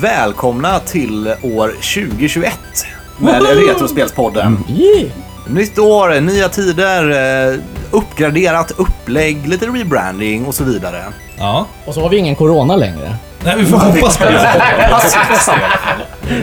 välkomna till år 2021 med Retrospelspodden. Nytt år, nya tider, eh, uppgraderat upplägg, lite rebranding och så vidare. Ja. Och så har vi ingen corona längre. Nej, vi får hoppas på det.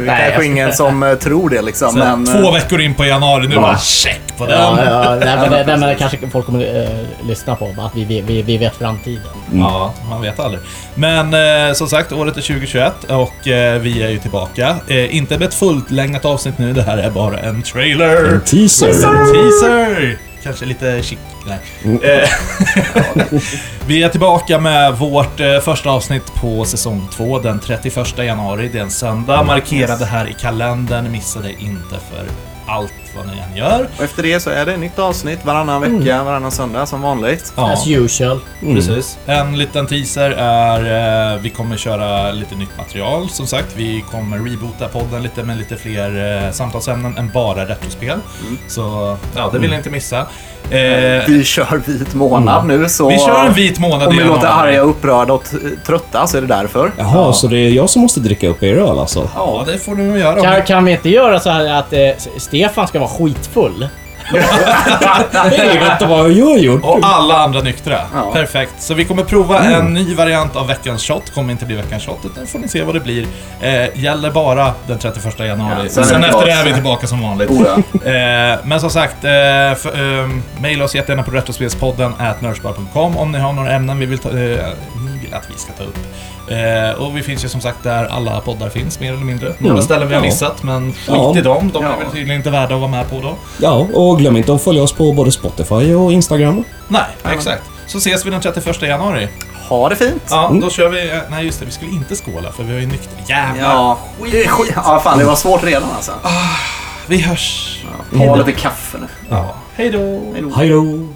Det är kanske ingen som eh, tror det liksom, men... eh, Två veckor in på januari nu bara check på den. Ja, ja, nej, men, det- nej, men det kanske folk kommer eh, lyssna på. Att vi, vi, vi, vi vet framtiden. Ja, man vet aldrig. Men eh, som sagt, året är 2021 och eh, vi är ju tillbaka. Eh, inte med ett fullängat avsnitt nu, det här är bara en trailer. Mm. En teaser. En teaser! Kanske lite chic. Nej. Mm. Eh, Vi är tillbaka med vårt eh, första avsnitt på säsong 2 den 31 januari. Det är en Mm. söndag. Markera det här i kalendern. Missa det inte för allt vad ni än gör. Och efter det så är det ett nytt avsnitt varannan Mm. vecka, varannan söndag som vanligt. Ja. As usual. Mm. Precis. En liten teaser är eh, vi kommer köra lite nytt material som sagt. Vi kommer reboota podden lite med lite fler eh, samtalsämnen än bara retrospel. Så ja, det vill ni inte missa. Eh, Mm. Vi kör vit månad nu så... vi kör en vit månad Om i vi låter januari. arga, upprörda och t- trötta så är det därför. Jaha, så det är jag som måste dricka upp er öl alltså? Ja, det får du nog göra. Kan, kan vi inte göra så här att eh, Stefan ska vara skitfull? Nej, vänta vad har jag gjort? Och alla andra nyktra. Ja. Mm. Perfekt. Så vi kommer prova en ny variant av veckans shot. Kommer inte bli veckans shot, utan får ni se vad det blir. Eh, gäller bara den 31 januari. Ja, sen sen är vi efter det tillbaka. är vi tillbaka som vanligt. Oh, ja. Eh, men som sagt, eh, f- ehm, mejla oss jättegärna på retrospelspodden at nördspar.com om ni har några ämnen vi vill ta, eh, ni vill att vi ska ta upp. Eh, och vi finns ju som sagt där alla poddar finns, mer eller mindre. Några Mm, ställen vi har ja. missat, men skit Ja. i dem. De Ja. är väl tydligen inte värda att vara med på då. Ja, och glöm inte att följa oss på både Spotify och Instagram. Nej, exakt. Så ses vi den 31 januari. Ha det fint! Ja, då kör vi... eh, Nej, just det. Vi skulle inte skåla, för vi har ju nykter. Jävlar! Ja, skit. Ja, fan det var svårt redan alltså. Vi hörs! Ta lite kaffe nu. Ja. Hej då! Hej då!